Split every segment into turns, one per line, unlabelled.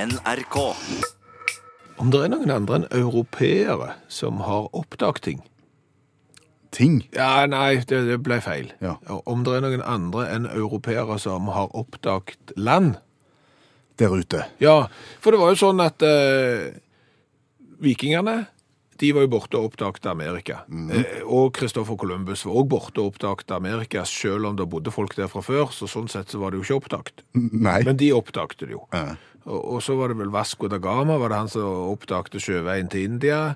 NRK.
Om det er noen andre enn europeere som har oppdaget ting?
Ting.
Ja, nei, det, det ble feil.
Ja.
Om det er noen andre enn europeere som har oppdaget land?
der ute.
Ja, for det var jo sånn at eh, vikingene, de var jo borte og oppdaget Amerika.
Mhm.
Eh, og Kristoffer Columbus var også borte og oppdaget Amerika, selv om det bodde folk der fra før, så sånn sett så var det jo ikke oppdaget.
Nei.
Men de oppdagte det jo.
Eh,
Og, og så var det vel Vasco da Gama, var det han som oppdagte sjøveien til India.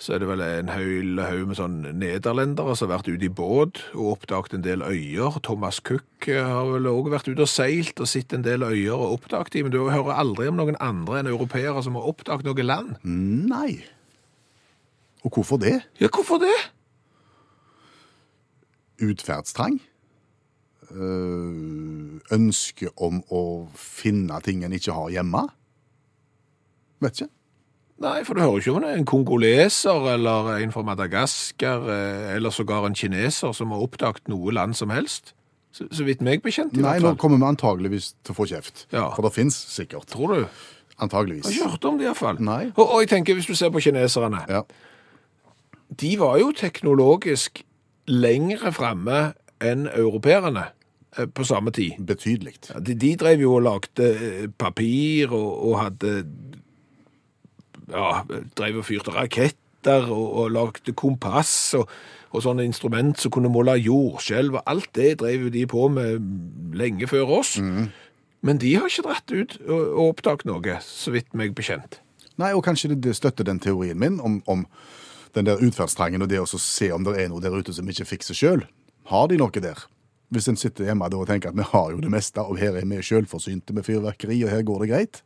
Så er det vel en høyl haug med sånn nederlendere som har vært ute i båt og oppdaget en del øyer. Thomas Cook eh, har vel òg vært ute og seilt og sett en del øyer og oppdaget de, men du hører aldri om noen andre enn europeere som har oppdaget noe land.
Nei. Og hvorfor det?
Ja, hvorfor det?
Utferdstrang? Eh, ønske om å finne ting en ikke har hjemme? Vet ikke.
Nei, for du hører ikke om det. En kongoleser eller en fra Madagaskar eh, eller sågar en kineser som har oppdaget noe land som helst. Så, så vidt meg bekjent, i
Nei, nå
hvert fall.
kommer vi antageligvis til å få kjeft.
Ja.
For det fins sikkert.
Tror du?
Antageligvis.
Jeg har ikke hørt om det iallfall.
Nei.
Og, og jeg tenker, hvis du ser på kineserne,
Ja.
de var jo teknologisk lengre fremme enn europeerne eh, på samme tid.
Betydelig.
Ja, De, de drev jo og lagde eh, papir og, og hadde Ja, drev og fyrte raketter og, og lagde kompass og, og sånne instrument som kunne måle jordskjelv, og alt det drev jo de på med lenge før oss. Men de har ikke dratt ut og, og oppdaget noe, så vidt meg bekjent.
Nei, og kanskje det, det støtter den teorien min om, om den der utferdstrangen og det å så se om det er noe der ute som vi ikke fikser sjøl. Har de noe der? Hvis en sitter hjemme da og tenker at vi har jo det meste, og her er vi sjølforsynte med fyrverkeri, og her går det greit,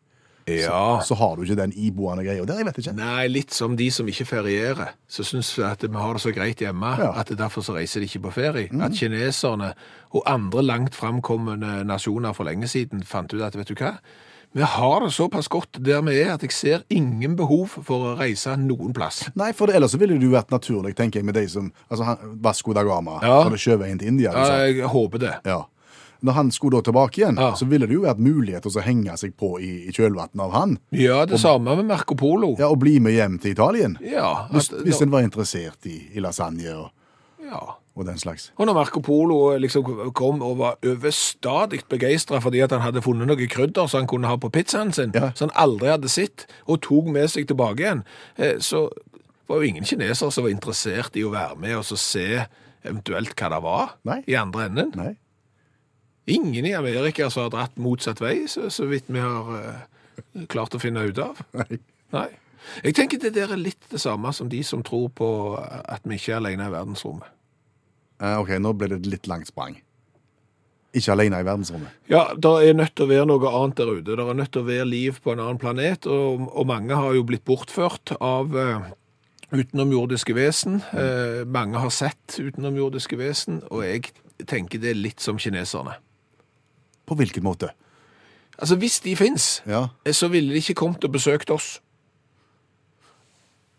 Ja.
så har du ikke den iboende greia der. Jeg vet ikke.
Nei, litt som de som ikke ferierer. Så syns vi at vi har det så greit hjemme
Ja. Mm.
at derfor så reiser de ikke på ferie. At kineserne og andre langt framkommende nasjoner for lenge siden fant ut at vet du hva, vi har det såpass godt der vi er at jeg ser ingen behov for å reise noen plass.
Nei, for ellers så ville det jo vært naturlig, tenker jeg, med de som altså han, Vasco da Gama,
Ja.
som det sjøveien til India.
Ja,
Liksom.
jeg håper det.
Ja. Når han skulle da tilbake igjen,
Ja.
så ville det jo vært mulighet til å henge seg på i, i kjølvannet av han,
Ja, det samme med Marco Polo.
ja, og bli med hjem til Italien.
Ja,
Hvis,
at-
hvis en var interessert i, i lasagne og,
ja.
og den slags.
Og når Marco Polo liksom kom og var overstadig begeistra fordi at han hadde funnet noe krydder som han kunne ha på pizzaen sin,
Ja.
som han aldri hadde sett, og tok med seg tilbake igjen, eh, så var jo ingen kineser som var interessert i å være med og så se eventuelt hva det var
Nei.
i andre enden.
Nei.
Ingen i Amerika som har dratt motsatt vei, så, så vidt vi har eh, klart å finne ut av.
Nei.
Nei. Jeg tenker det der er litt det samme som de som tror på at vi ikke er alene i verdensrommet.
Eh, ok, nå ble det et litt langt sprang. Ikke alene i verdensrommet.
Ja, det er nødt til å være noe annet der ute. Det er nødt til å være liv på en annen planet, og, og mange har jo blitt bortført av eh, utenomjordiske vesen. Eh, mange har sett utenomjordiske vesen, og jeg tenker det er litt som kineserne.
På hvilken måte?
Altså, hvis de fins,
Ja.
eh, så ville de ikke kommet og besøkt oss.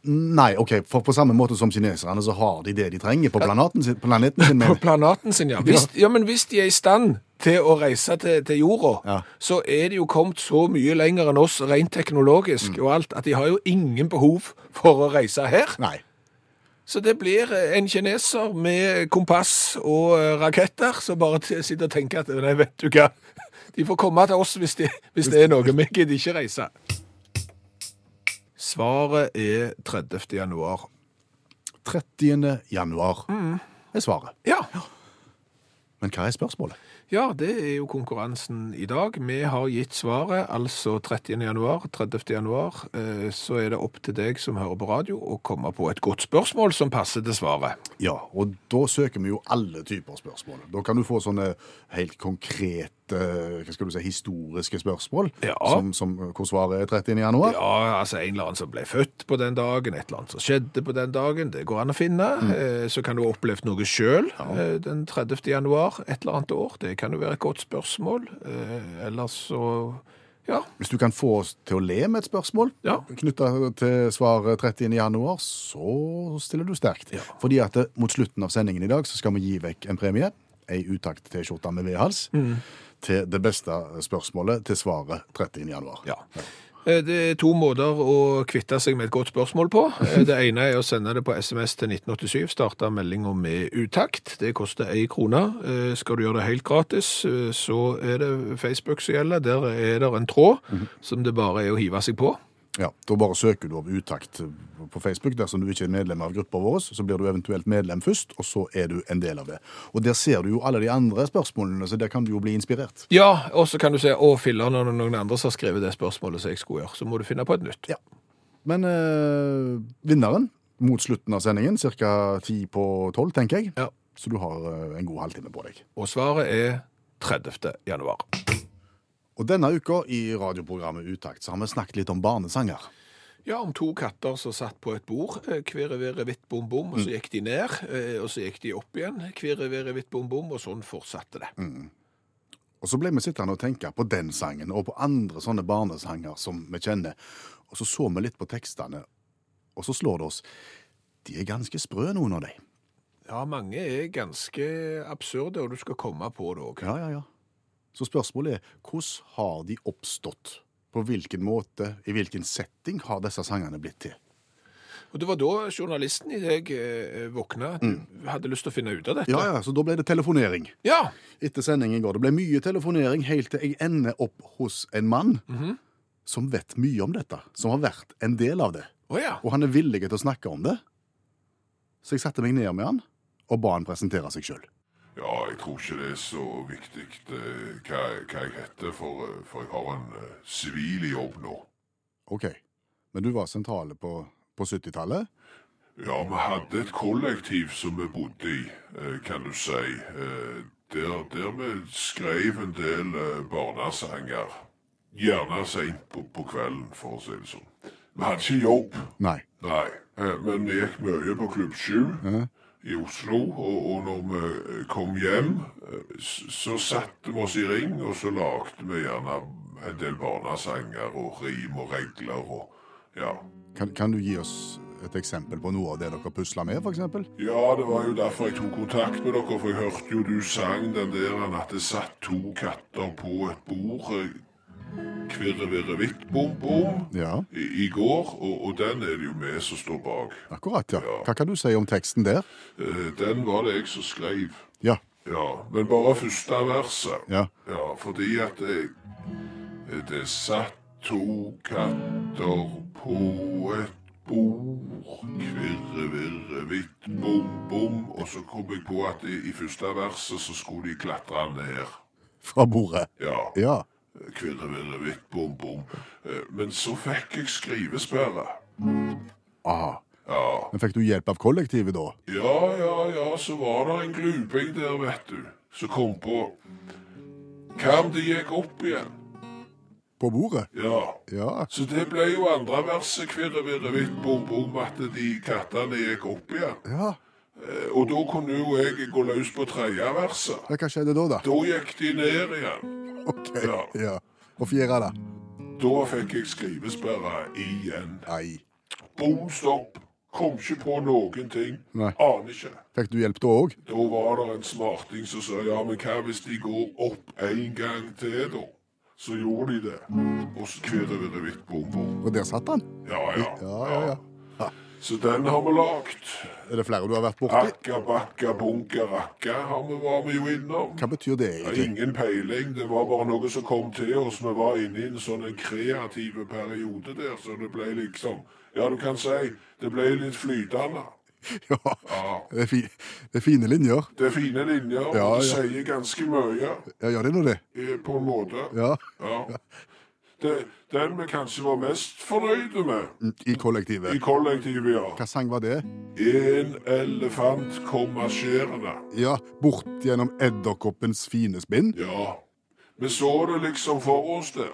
Nei, ok, for på samme måte som kineserne så har de det de trenger på planeten sin. Planeten sin
På
mener jeg.
planaten sin, ja. Hvis, ja, men hvis de er i stand til å reise til, til jorda,
Ja.
så er de jo kommet så mye lenger enn oss rent teknologisk og alt, at de har jo ingen behov for å reise her.
Nei.
Så det blir en kineser med kompass og eh, raketter som bare t- sitter og tenker at nei, vet du hva, de får komme til oss hvis, de, hvis det er noe. Vi gidder ikke reise. Svaret er 30. januar.
30. januar
Mm.
er svaret.
Ja.
Men hva er spørsmålet?
ja, det er jo konkurransen i dag. Vi har gitt svaret, altså 30. januar. 30. januar eh, så er det opp til deg som hører på radio å komme på et godt spørsmål som passer til svaret.
Ja, og da søker vi jo alle typer spørsmål. Da kan du få sånne helt konkrete, eh, hva skal du si, historiske spørsmål,
Ja.
som, som, eh, hvor svaret er 30. januar.
Ja, altså en eller annen som ble født på den dagen, et eller annet som skjedde på den dagen, det går an å finne. Eh, Så kan du ha opplevd noe sjøl eh, den 30. januar et eller annet år. Det kan jo være et godt spørsmål. Eh, Ellers så ja.
Hvis du kan få oss til å le med et spørsmål
Ja.
knytta til svaret 30. januar, så stiller du sterkt. Fordi at eh, mot slutten av sendingen i dag så skal vi gi vekk en premie. Ei
Mm.
utakt-T-skjorte med V-hals. Til det beste spørsmålet til svaret 30. januar.
ja. Eh, Det er to måter å kvitte seg med et godt spørsmål på. Eh, Det ene er å sende det på SMS til 1987, starte meldinga med utakt. Det koster ei krone. Eh, Skal du gjøre det helt gratis, eh, så er det Facebook som gjelder. Der er det en tråd som det bare er å hive seg på.
Ja, Da bare søker du om utakt på Facebook. Dersom du ikke er medlem av gruppa vår, så blir du eventuelt medlem først, og så er du en del av det. Og Der ser du jo alle de andre spørsmålene, så der kan du jo bli inspirert.
Ja, og så kan du si 'Å, filler, når noen andre som har skrevet det spørsmålet som jeg skulle gjøre', så må du finne på et nytt.
Ja. Men eh, vinneren mot slutten av sendingen, ca. ti på tolv, tenker jeg.
Ja.
Så du har eh, en god halvtime på deg.
Og svaret er 30. januar.
Og denne uka i radioprogrammet Utakt så har vi snakket litt om barnesanger.
Ja, om to katter som satt på et bord. eh, Kvirre, virre, vitt, bom, bom.
Mm.
Og så gikk de ned, eh, og så gikk de opp igjen. Kvirre, virre, vitt, bom, bom. Og sånn fortsatte det.
Mm. Og så ble vi sittende og tenke på den sangen, og på andre sånne barnesanger som vi kjenner. Og så så vi litt på tekstene, og så slår det oss. De er ganske sprø, noen av de.
Ja, mange er ganske absurde, og du skal komme på det òg.
Ja, ja, ja. Så spørsmålet er, hvordan har de oppstått? På hvilken måte, i hvilken setting har disse sangene blitt til?
Og det var da journalisten i deg eh, våkna. at Du hadde lyst til å finne ut av dette.
Mm. Ja, ja, så da ble det telefonering.
ja.
Etter sendingen i går, det ble mye telefonering helt til jeg ender opp hos en mann som vet mye om dette, som har vært en del av det.
Å ja.
og han er villig til å snakke om det. Så jeg satte meg ned med han og ba han presentere seg sjøl.
Ja, jeg tror ikke det er så viktig eh, hva, hva jeg heter, for, eh, for jeg har en eh, sivil jobb nå.
OK, men du var sentrale på, på 70-tallet?
Ja, vi hadde et kollektiv som vi bodde i, eh, kan du si. eh, Der, der vi skrev en del eh, barnesanger. Gjerne seint på, på kvelden, for å si det sånn. Vi hadde ikke jobb,
Nei.
nei. eh, Men vi gikk mye på Klubb 7 i Oslo, og, og når vi eh, kom hjem, eh, s- så satte vi oss i ring, og så lagde vi gjerne en del barnesanger og rim og regler og ja.
Kan, kan du gi oss et eksempel på noe av det dere pusla med, f.eks.?
Ja, det var jo derfor jeg tok kontakt med dere, for jeg hørte jo du sang den der at det satt to katter på et bord. eh, Kvirre, virre, vitt, bom, bom.
Ja,
I, I går, og, og den er det jo vi som står bak.
akkurat, ja. Hva kan du si om teksten der?
Eh, Den var det jeg som skrev.
Ja.
Ja, men bare første verset.
Ja.
Ja, fordi at jeg Det satt to katter på et bord. Kvirre, virre, vitt, bom, bom. Og så kom jeg på at i, i første verset så skulle de klatre ned.
Fra bordet.
Ja.
Ja.
Kvirre, virre, vitt, bom, bom. Eh, Men så fikk jeg skrivesperre.
Aha.
Ja.
Men fikk du hjelp av kollektivet da?
Ja, ja, ja, så var det en gluping der, vet du, som kom på Hva om det gikk opp igjen?
På bordet?
Ja.
Ja.
Så det ble jo andre verset, kvirre, virre, vitt, bom, bom, at de kattene gikk opp igjen.
Ja,
Eh, Og da kunne jo jeg gå løs på tredje verset.
ja Hva skjedde da, da?
Da gikk de ned igjen.
OK.
Ja.
Ja. Og fjerde, da?
Da fikk jeg skrivesperre igjen.
Nei.
Bom stopp. Kom ikke på noen ting.
Nei.
Aner ikke.
Fikk du hjelp da òg?
Da var det en smarting som sa ja, men hva hvis de går opp en gang til, da? Så gjorde de det. Og så kvirret vi det vidt bom, bom.
Og der satt han?
Ja, ja.
Ja, ja, ja.
Så den har vi lagd.
Er det flere du har vært borti?
Akka, bakka, bunka, rakka har vi, var vi jo innom.
Hva betyr det
Ja,
egentlig?
Ingen peiling, det var bare noe som kom til oss. Vi var inne i en sånn en kreativ periode der, så det ble liksom Ja, du kan si det ble litt flytende.
Ja,
Ja.
det er, fi, det er fine linjer.
Det er fine linjer, og
Ja,
det
ja.
sier ganske mye
Ja, gjør det nå det?
eh, på en måte.
Ja,
Ja. Det, den vi kanskje var mest fornøyde med
I
i
kollektivet.
kollektivet, ja.
Hva sang var det?
En elefant kom marsjerende.
Ja, Bort gjennom edderkoppens fine spinn.
Ja. Vi så det liksom for oss der.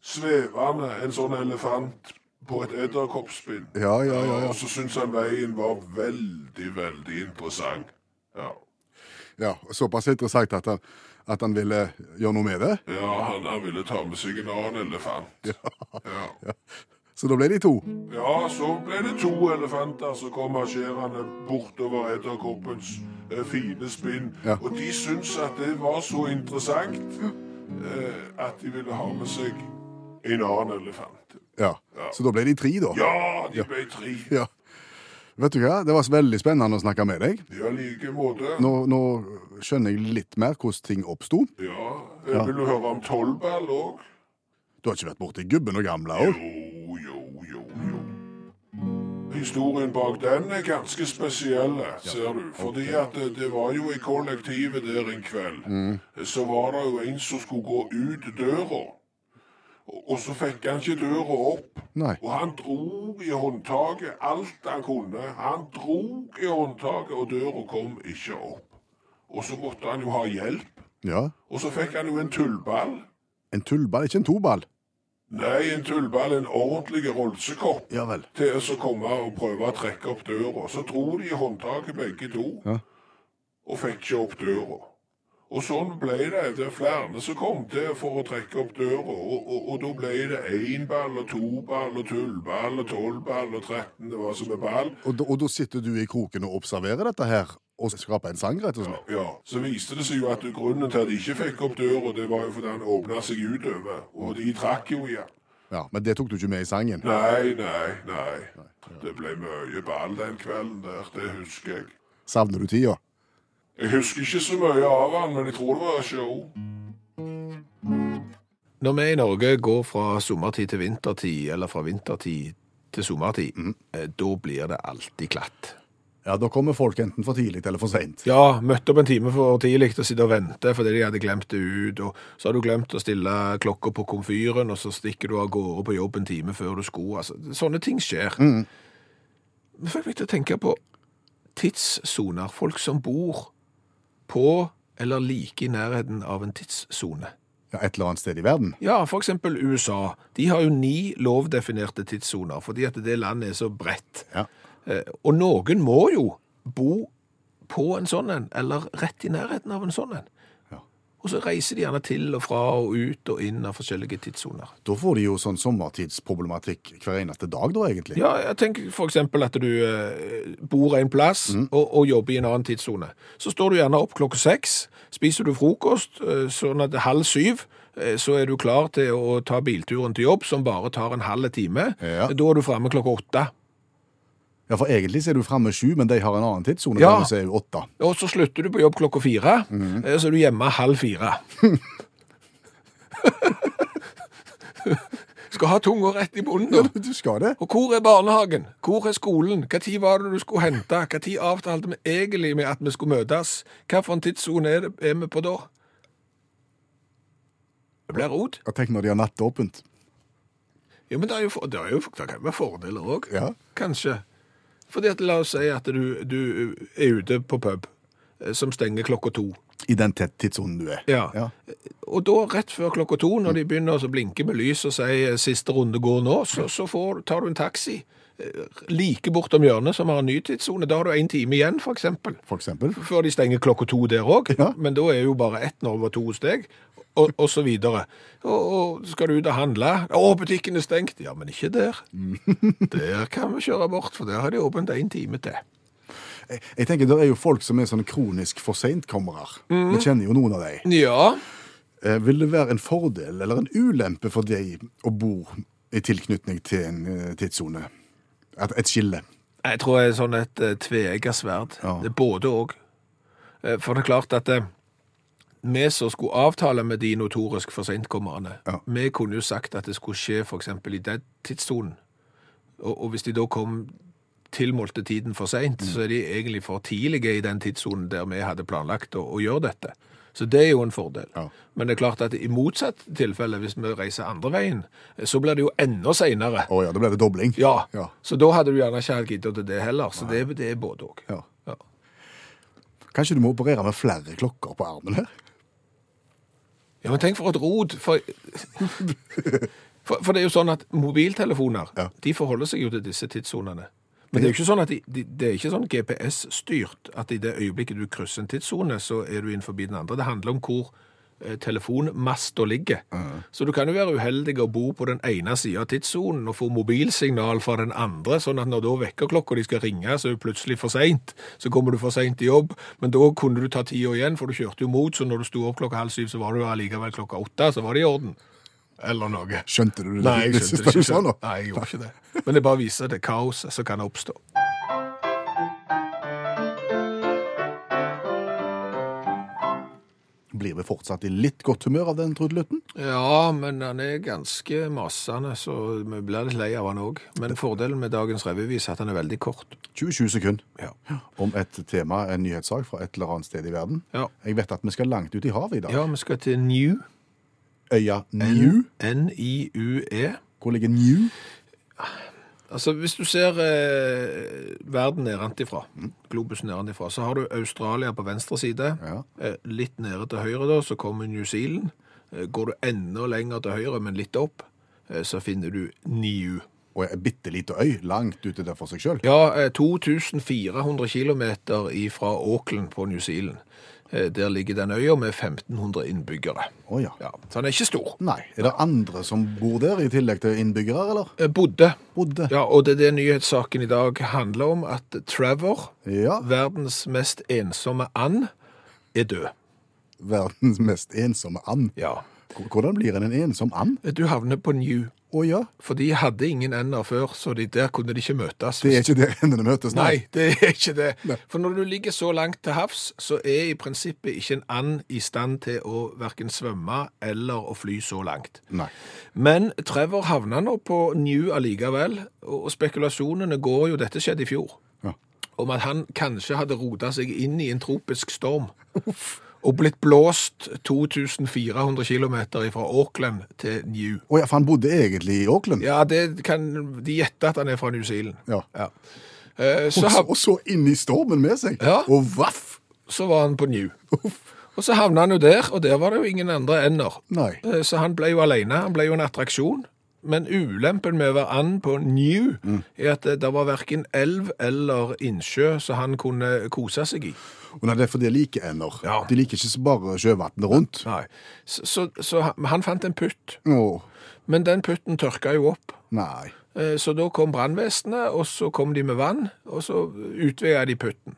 Svevende en sånn elefant på et edderkoppspinn.
Ja, ja, ja. ja.
Og så syntes han veien var veldig, veldig interessant. Ja.
ja såpass interessant at han, at han ville gjøre noe med det.
Ja, han, han ville ta med seg en annen elefant. Ja.
Så da ble de to.
Ja, så ble det to elefanter som kom marsjerende bortover edderkoppens eh, fine spinn.
Ja.
Og de syntes at det var så interessant eh, at de ville ha med seg en annen elefant. katt.
Ja. Så da ble de tre, da.
Ja, de ble tre.
Ja. Vet du hva, det var veldig spennende å snakke med deg.
Ja, like måte.
Nå, nå skjønner jeg litt mer hvordan ting oppsto.
Ja, eh, vil du høre om tolvball òg?
Du har ikke vært borti gubben og gamla òg?
Jo, jo, jo, jo. Historien bak den er ganske spesiell, eh, ser du. Fordi at det, det var jo i kollektivet der en kveld. Eh, Så var det jo en som skulle gå ut døra. Og- Og så fikk han ikke døra opp.
Nei.
Og han dro i håndtaket alt han kunne. Han dro i håndtaket, og døra kom ikke opp. Og så måtte han jo ha hjelp.
Ja.
Og så fikk han jo en tullball.
En tullball, ikke en toball.
Nei, en tullball, en ordentlig rolsekopp.
Ja vel.
til å så komme og prøve å trekke opp døra. Så dro de i håndtaket begge to,
Ja.
og fikk ikke opp døra. Og sånn ble det. Det er flere som kom til for å trekke opp døra, og, og, og da ble det én ball og to ball og tullball og tolv ball og 13, det var som en ball.
Og da, og da sitter du i kroken og observerer dette her, og skaper en sang, rett og slett?
Ja, Så viste det seg jo at grunnen til at de ikke fikk opp døra, det var jo fordi han åpna seg utover, og de trakk jo igjen.
Ja, Men det tok du ikke med i sangen?
Nei, nei, nei. Det ble mye ball den kvelden der, det husker jeg.
Savner du tida?
Jeg husker ikke så mye av han, men jeg tror det var show.
Når vi i Norge går fra sommertid til vintertid, eller fra vintertid til sommertid,
Mm.
eh, da blir det alltid glatt.
Ja, da kommer folk enten for tidlig eller for seint.
Ja, møtte opp en time for tidlig og sitte og vente fordi de hadde glemt det ut, og så har du glemt å stille klokka på komfyren, og så stikker du av gårde på jobb en time før du skulle. Altså, sånne ting skjer.
Mhm.
Men fikk meg til å tenke på tidssoner. Folk som bor på eller like i nærheten av en tidssone.
Ja, Et eller annet sted i verden.
Ja, for eksempel USA. De har jo ni lovdefinerte tidssoner, fordi at det landet er så bredt.
Ja.
Eh, Og noen må jo bo på en sånn en, eller rett i nærheten av en sånn en.
Ja.
Og så reiser de gjerne til og fra og ut og inn av forskjellige tidssoner.
Da får de jo sånn sommertidsproblematikk hver eneste dag, da, egentlig.
Ja, jeg tenker for eksempel at du eh, bor en plass og, og jobber i en annen tidssone. Så står du gjerne opp klokka seks, spiser du frokost, eh, sånn at halv syv, eh, så er du klar til å ta bilturen til jobb, som bare tar en halv time.
Ja.
Da er du fremme klokka åtte.
Ja, For egentlig så er du framme sju, men de har en annen tidssone.
Ja.
Ja. Så er jo åtte.
Og så slutter du på jobb klokka fire, eh, så er du hjemme halv fire. Skal ha tunga rett i bunnen. da.
Du skal det?
Og hvor er barnehagen? Hvor er skolen? Hva tid var det du skulle hente? Hva tid avtalte vi egentlig med at vi skulle møtes? Hva for en tidssone er, det- er vi på da? Det blir rot.
Ja, Tenk når de har nattåpent.
Jo, men det er jo, for, det er jo det kan være fordeler òg.
Ja.
Kanskje. Fordi at la oss si at du, du er ute på pub eh, som stenger klokka to.
I den tett tidssonen du er.
Ja.
Ja.
Og da, rett før klokka to, når de begynner å blinke med lys og sier siste runde går nå, så, så får, tar du en taxi eh, like bortom hjørnet som har en ny tidssone. Da har du en time igjen, for eksempel.
For eksempel.
Før de stenger klokka to der òg,
Ja.
men da er jo bare ett når over to steg, og, og så videre. Og, og skal du ut og handle? Å, butikken er stengt! Ja, men ikke der.
Mm.
Der kan vi kjøre bort, for der har de åpent en time til.
Jeg, jeg tenker, Det er jo folk som er sånn kronisk for seintkommere.
Mhm.
Vi kjenner jo noen av dem.
Ja,
Eh, Vil det være en fordel eller en ulempe for deg å bo i tilknytning til en eh, tidssone? Et, et skille?
Jeg tror jeg er sånn et eh, tveegget sverd.
Ja.
Det er både og. Eh, For det er klart at eh, vi som skulle avtale med de notorisk for sentkommerne,
Ja.
vi kunne jo sagt at det skulle skje for eksempel i den tidssonen. Og, og hvis de da kom tilmålte tiden for
Mm.
sent, så er de egentlig for tidlige i den tidssonen der vi hadde planlagt å, å gjøre dette. Så det er jo en fordel.
Ja.
Men det er klart at i motsatt tilfelle, hvis vi reiser andre veien, eh, så blir det jo enda senere.
Å ja, da ble det dobling.
Ja.
Ja.
Så da hadde du gjerne ikke hatt giddet til det heller. Så det, det er både òg.
Ja.
Ja.
Kanskje du må operere med flere klokker på armen her?
ja, men tenk for et rot. For, for, for det er jo sånn at mobiltelefoner
Ja.
de forholder seg jo til disse tidssonene. Men det er jo ikke sånn at de, de, det er ikke sånn GPS-styrt at i det øyeblikket du krysser en tidssone, så er du innenfor den andre. Det handler om hvor eh, telefonmasta ligger. Så du kan jo være uheldig og bo på den ene sida av tidssonen og få mobilsignal fra den andre, sånn at når da vekkerklokka de skal ringe, så er du plutselig for seint. Så kommer du for seint i jobb, men da kunne du ta tida igjen, for du kjørte jo mot, så når du sto opp klokka halv syv, så var du allikevel klokka åtte, så var det i orden. eller noe.
Skjønte du det?
Nei, jeg
synes
skjønte det
du sa nå?
ikke. Nei, jeg gjorde ikke det. Men det bare viser det kaoset som kan oppstå.
Blir vi fortsatt i litt godt humør av den trudelutten?
Ja, men han er ganske masende, så vi blir litt lei av han òg. Men fordelen med dagens revyvis er at han er veldig kort.
20-20 sekunder
Ja.
om et tema, en nyhetssak fra et eller annet sted i verden.
Ja.
Jeg vet at vi skal langt ut i havet i dag.
ja, vi skal til New.
Øya New.
N-I-U-E.
Hvor ligger New?
E. Altså, Hvis du ser eh, verden nedenfra, globusen nedenfra, så har du Australia på venstre side.
Ja.
Eh, litt nede til høyre, da, så kommer New Zealand. Eh, går du enda lenger til høyre, men litt opp, eh, så finner du Niu.
Og en bitte liten øy langt ute der for seg sjøl.
Ja, eh, 2400 km fra Auckland på New Zealand. Eh, der ligger den øya med 1500 innbyggere.
Å ja.
Ja, Så den er ikke stor.
Nei. Er det andre som bor der, i tillegg til innbyggere, eller?
Eh, bodde.
Bodde.
Ja, og det er det nyhetssaken i dag handler om, at Trevor
Ja.
Verdens mest ensomme and er død.
Verdens mest ensomme and.
Ja.
H- Hvordan blir en en ensom and?
Du havner på New,
Å ja.
for de hadde ingen ender før, så de, der kunne de ikke møtes.
Det er ikke der endene møtes,
Nei, det er ikke det. For når du ligger så langt til havs, så er i prinsippet ikke en and i stand til å verken svømme eller å fly så langt.
Nei.
Men Trevor havna nå på New allikevel, og spekulasjonene går jo, dette skjedde i fjor,
Ja.
om at han kanskje hadde rota seg inn i en tropisk storm. Og blitt blåst 2400 km fra Auckland til New.
Å ja, for han bodde egentlig i Auckland.
Ja, det kan de gjette at han er fra New Zealand.
Ja.
Eh, Så,
Og så,
hav-
og så inn i stormen med seg.
Ja.
Og vaff!
så var han på New. Og så havna han jo der, og der var det jo ingen andre ender.
Nei.
Eh, Så han ble jo alene, han ble jo en attraksjon. Men ulempen med å være and på New er at eh, det- det var verken elv eller innsjø som han kunne kose seg i.
Og nei, det er fordi de liker ender.
Ja.
De liker ikke så bare sjøvannet rundt.
Nei. Så, så, så han- han fant en putt,
Åh,
men den putten tørka jo opp.
nei.
Eh, Så da kom brannvesenet, og så kom de med vann, og så utvida de putten.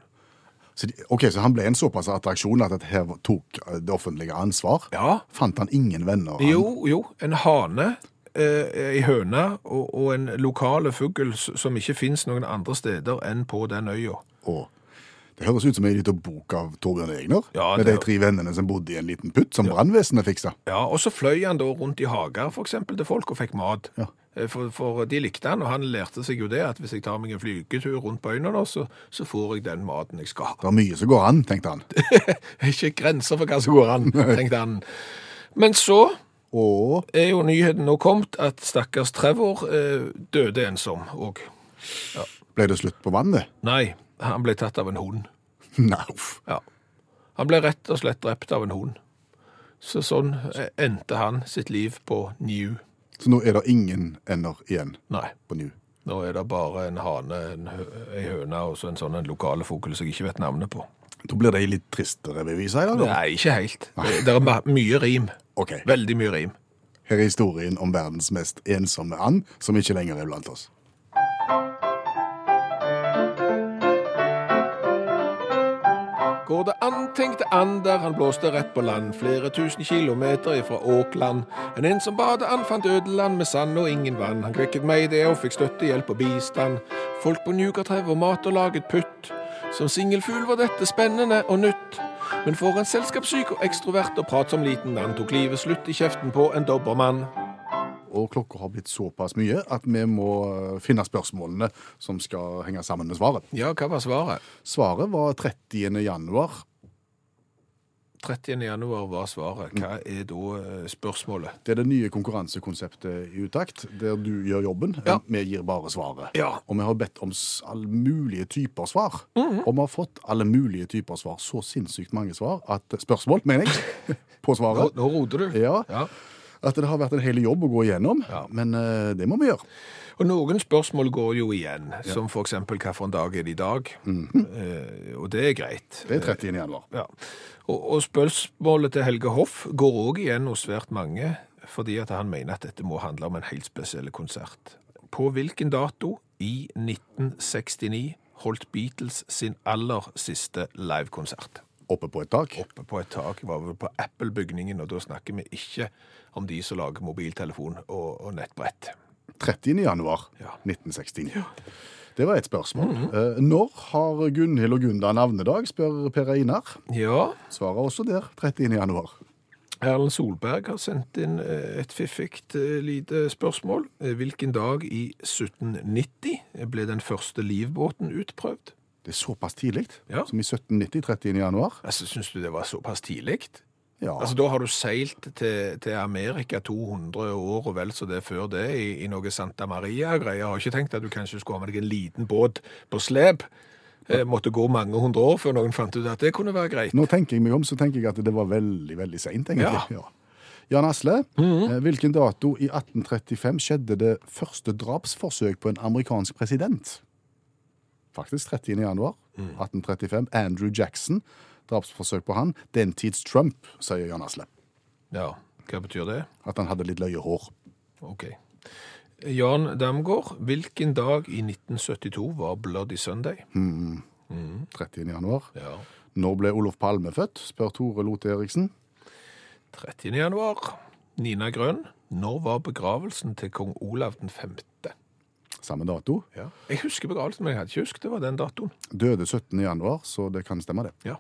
Så de, ok, så han ble en såpass attraksjon at her tok eh, det offentlige ansvar.
Ja.
Fant han ingen venner? han?
Jo, jo, en hane, eh, ei høne og, og en lokale fugl s- som ikke fins noen andre steder enn på den øya.
Åh. det høres ut som en liten bok av Torbjørn Egner.
Ja,
med
det-
de tre vennene som bodde i en liten putt som brannvesenet fiksa.
Ja, Og så fløy han da rundt i hager for eksempel, til folk og fikk mat. Eh, For, for de likte han, og han lærte seg jo det at hvis jeg tar meg en flygetur rundt på øyene, da, så, så får jeg den maten jeg skal ha.
Det er mye som går an, tenkte han.
Ikke grenser for hva som går an, tenkte han. Men så
Og
er jo nyheten nå kommet at stakkars Trevor eh, døde ensom òg.
ble det slutt på vannet?
Nei, han ble tatt av en hund.
Nei, uff.
Ja. Han ble rett og slett drept av en hund. Så sånn eh, endte han sitt liv på New.
Så nå er det ingen ender igjen
Nei,
på New.
nå er det bare en hane, en hø- ei høne og så en sånn en lokale fugl som jeg ikke vet navnet på.
Da blir det en litt tristere revyvise i dag, da.
Nei, ikke helt. Det det er ma- mye rim.
Ok,
Veldig mye rim.
her er historien om verdens mest ensomme and, som ikke lenger er blant oss.
Går det an, tenkte and der han blåste rett på land, flere tusen kilometer ifra Åkland. En ensom badeand fant ødeland med sand og ingen vann. Han kvekket meg i det og fikk støttehjelp og bistand. Folk på Njugartrev og mat og laget putt. Som singelfugl var dette spennende og nytt. Men for en selskapssyk og ekstrovert og pratsom liten and tok livet slutt i kjeften på en dobbermann.
Og klokka har blitt såpass mye at vi må eh, finne spørsmålene som skal henge sammen med svaret.
Ja, hva var svaret?
Svaret var 30. januar.
30. januar var svaret. Hva er da eh, spørsmålet?
Det er det nye konkurransekonseptet i Utakt, der du gjør jobben.
Ja.
Vi gir bare svaret.
Ja.
Og vi har bedt om s- alle mulige typer svar.
Mhm.
Og vi har fått alle mulige typer svar. Så sinnssykt mange svar at eh, Spørsmål, mener jeg. På
Nå,
svaret.
nå roter du.
Ja.
ja.
At det har vært en hel jobb å gå igjennom. Men eh, det må vi gjøre.
Og noen spørsmål går jo igjen, som for eksempel hva for en dag er det i dag? Eh, og det er greit.
Det er 30. januar.
Ja. Og, og spørsmålet til Helge Hoff går òg igjen hos svært mange, fordi at han mener at dette må handle om en helt spesiell konsert. På hvilken dato i 1969 holdt Beatles sin aller siste livekonsert?
Å Oppe på et tak.
oppe på et tak. Jeg var vel på Apple-bygningen, og da snakker vi ikke om de som lager mobiltelefon og, og nettbrett.
30. januar
Ja.
1969. Det var et spørsmål. Eh, Når har Gunhild og Gunda navnedag, spør Per Einar.
Ja,
Svaret er også der 30. januar.
Erlend Solberg har sendt inn eh, et fiffigt eh, lite spørsmål. Eh, Hvilken dag i 1790 ble den første livbåten utprøvd?
Det er såpass tidlig
Ja.
som i 1790, 30. januar.
Altså, Syns du det var såpass tidlig?
Ja.
Altså, Da har du seilt til, til Amerika 200 år og vel så det før det, i, i noe Santa Maria-greier. Har ikke tenkt at du kanskje skulle ha med deg en liten båt på slep. Eh, måtte gå mange hundre år før noen fant ut at det kunne være greit.
Nå tenker jeg meg om, så tenker jeg at det var veldig, veldig seint, egentlig. Ja. Jan Asle, eh, hvilken dato i 1835 skjedde det første drapsforsøk på en amerikansk president? Faktisk 30. januar 1835. Andrew Jackson. Drapsforsøk på han. Den tids Trump, sier Jan Asle.
Ja, Hva betyr det?
At han hadde litt løye hår.
Ok. Jan Damgaard, hvilken dag i 1972 var Bloody Sunday?
30. januar.
Ja,
Når ble Olof Palme født? spør Tore Lote Eriksen.
30. januar. Nina Grønn, når var begravelsen til kong Olav den 5.?
Samme dato.
Ja. Jeg husker begravelsen, men jeg hadde ikke husket det var den datoen.
Døde 17. januar, så det kan stemme, det.
Ja.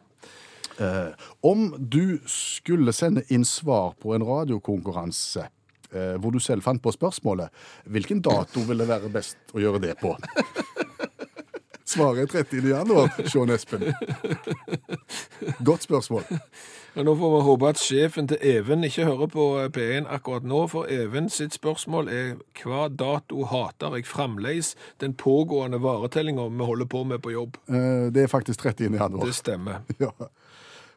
Om du skulle sende inn svar på en radiokonkurranse eh, hvor du selv fant på spørsmålet, hvilken dato ville være best å gjøre det på? Svaret er 30. januar, Sean Espen. Godt spørsmål.
Men nå får vi håpe at sjefen til Even ikke hører på eh, P1 akkurat nå, for Even sitt spørsmål er hva dato hater jeg fremleis den pågående varetellinga vi holder på med på jobb?
Eh, det er faktisk 30.
Det
januar.
stemmer.
Ja.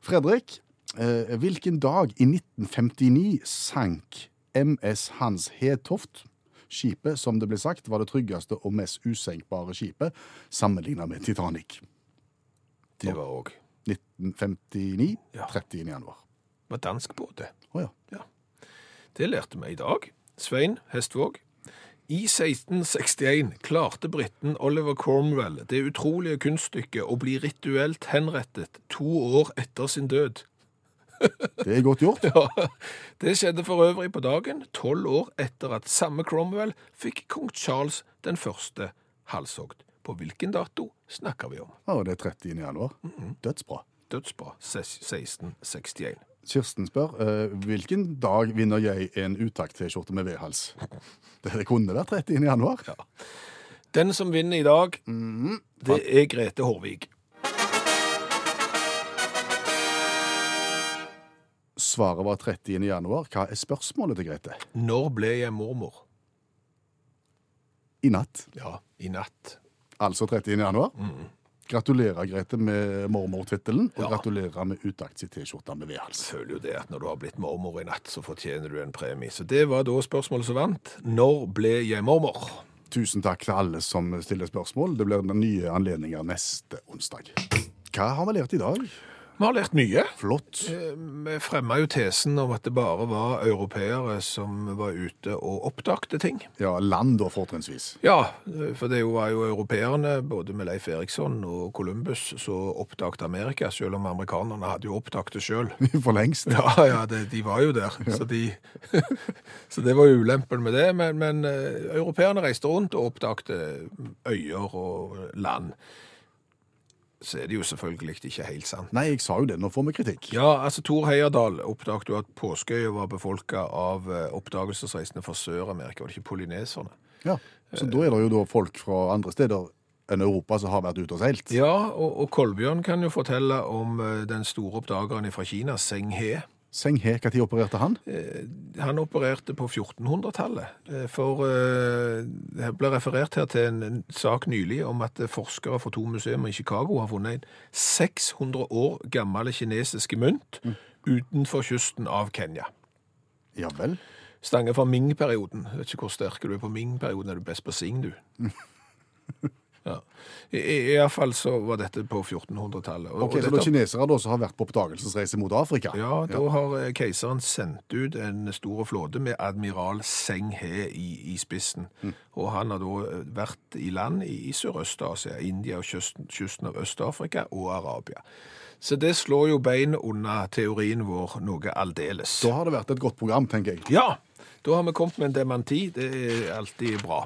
Fredrik, eh, hvilken dag i 1959 sank MS Hans Hetoft? Skipet, som det ble sagt, var det tryggeste og mest usenkbare skipet sammenlignet med Titanic.
Det var òg.
1959,
Ja.
30. januar.
Det var dansk båt, det.
Å ja.
Det lærte vi i dag. Svein Hestvåg. I 1661 klarte britten Oliver Cromwell det utrolige kunststykket å bli rituelt henrettet to år etter sin død.
Det er godt gjort.
Ja, det skjedde for øvrig på dagen, tolv år etter at samme Cromwell fikk kong Charles den første halshogd. På hvilken dato snakker vi om?
Ja, det er 30. januar. Dødsbra.
Dødsbra ses- 1661.
Kirsten spør eh, hvilken dag vinner jeg en utakt-T-skjorte med V-hals? Det kunne vært 30. januar.
Den som vinner i dag, det er Grete Hårvik.
Svaret var 30. januar. Hva er spørsmålet til Grete?
Når ble jeg mormor?
I natt.
Ja, i natt.
Altså 30. januar. Gratulerer, Grete, med mormortittelen, og
Ja.
gratulerer med utakt-T-skjorta med V-hals.
føler jo det at når du har blitt mormor i natt, så fortjener du en premie. Så det var da spørsmålet som vant. Når ble jeg mormor?
Tusen takk til alle som stiller spørsmål. Det blir nye anledninger neste onsdag. Hva har vi lært i dag?
Vi har lært mye.
Flott.
Eh, Vi fremma jo tesen om at det bare var europeere som var ute og oppdagte ting.
Ja, land da, fortrinnsvis.
Ja, eh, for det var jo europeerne, både med Leif Eriksson og Columbus, som oppdagte Amerika, selv om amerikanerne hadde jo oppdaget det sjøl.
For lengst.
Ja, ja, det, de var jo der, så, de, så det var jo ulempen med det. Men, men eh, europeerne reiste rundt og oppdagte øyer og land. Så er det jo selvfølgelig ikke helt sant.
Nei, jeg sa jo det. Nå får vi kritikk.
Ja, altså Thor Heyerdahl oppdaget jo at Påskeøya var befolka av eh, oppdagelsesreisende fra Sør-Amerika, var det ikke polyneserne?
Ja. Så da er det jo da folk fra andre steder enn Europa som har vært ute og seilt.
Ja, og, og Kolbjørn kan jo fortelle om eh, den store oppdageren fra Kina, Seng He.
Seng He, når opererte han?
Han opererte på 1400-tallet. eh, For eh, det ble referert her til en, en sak nylig om at eh, forskere fra to museer i Chicago har funnet en 600 år gammel kinesiske mynt utenfor kysten av Kenya.
Ja vel.
Stange fra Ming-perioden. Jeg Vet ikke hvor sterk du er på Ming-perioden. Er du best på Sing, du? Ja. I, i, I hvert fall så var dette på 1400-tallet. og- og
Ok, Så det
dette-
er kinesere da som har vært på oppdagelsesreise mot Afrika?
Ja, da har eh, keiseren sendt ut en stor flåte med admiral Seng He i, i spissen. Og han har da eh, vært i land i, i Sørøst-Asia, India og kysten, kysten av Øst-Afrika og Arabia. Så det slår jo bein under teorien vår noe aldeles.
Da har det vært et godt program, tenker jeg.
Ja, da har vi kommet med en dementi. Det er alltid bra.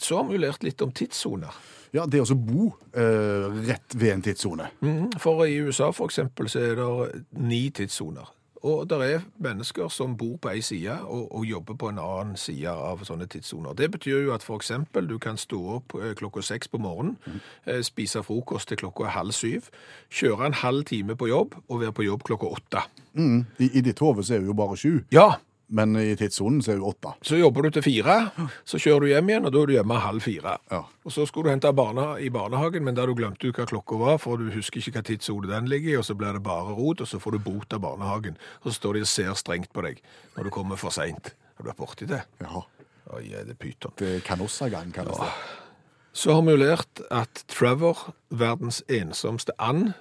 Så har vi jo lært litt om tidssoner.
Ja, Det å så bo eh, rett ved en tidssone.
Mhm, For i USA for eksempel så er det ni tidssoner. Og det er mennesker som bor på ei side og, og jobber på en annen side av sånne tidssoner. Det betyr jo at for eksempel du kan stå opp eh, klokka seks på morgenen, eh, spise frokost til klokka halv syv, kjøre en halv time på jobb og være på jobb klokka åtte.
Mm. I, I ditt hode så er det jo bare sju,
Ja,
men i tidssonen så er det jo åtte.
så jobber du til fire, så kjører du hjem igjen, og da er du hjemme halv fire.
Ja.
Og så skulle du hente barna i barnehagen, men der du glemte hva klokka var, for du husker ikke hva tidssone den ligger i, og så blir det bare rot, og så får du bot av barnehagen. Og så står de og ser strengt på deg når du kommer for seint. Har du vært borti det?
ja.
Oi, er det pyton.
Det er kanossagang, kalles det.
Så har vi jo lært at Trevor, verdens ensomste and,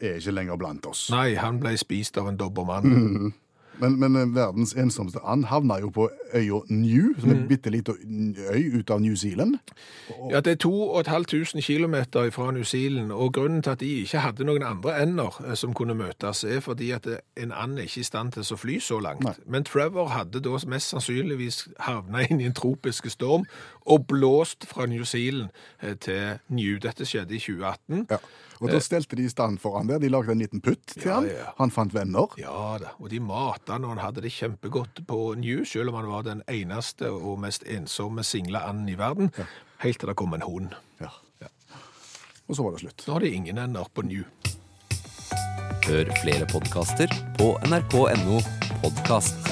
Er ikke lenger blant oss.
nei, han ble spist av en dobbermann.
Men, men eh, verdens ensomste and havna jo på øya New, som er en bitte liten øy ut av New Zealand.
Ja, det er 2500 km fra New Zealand, og grunnen til at de ikke hadde noen andre ender eh, som kunne møtes, er fordi at eh, en and er ikke i stand til å fly så langt.
Nei.
Men Trevor hadde da mest sannsynligvis havna inn i en tropiske storm og blåst fra New Zealand eh, til New. Dette skjedde i 2018.
Ja. Og da stelte de i stand for han der. De lagde en liten putt til
Ja,
han.
ja.
Han fant venner.
Ja da, og de matet han, og han hadde det kjempegodt på New, selv om han var den eneste og mest ensomme single anden i verden, helt til det kom en hund.
Ja. Og så var det slutt.
Nå har de ingen ender på New.
Hør flere podkaster på nrk.no podkast.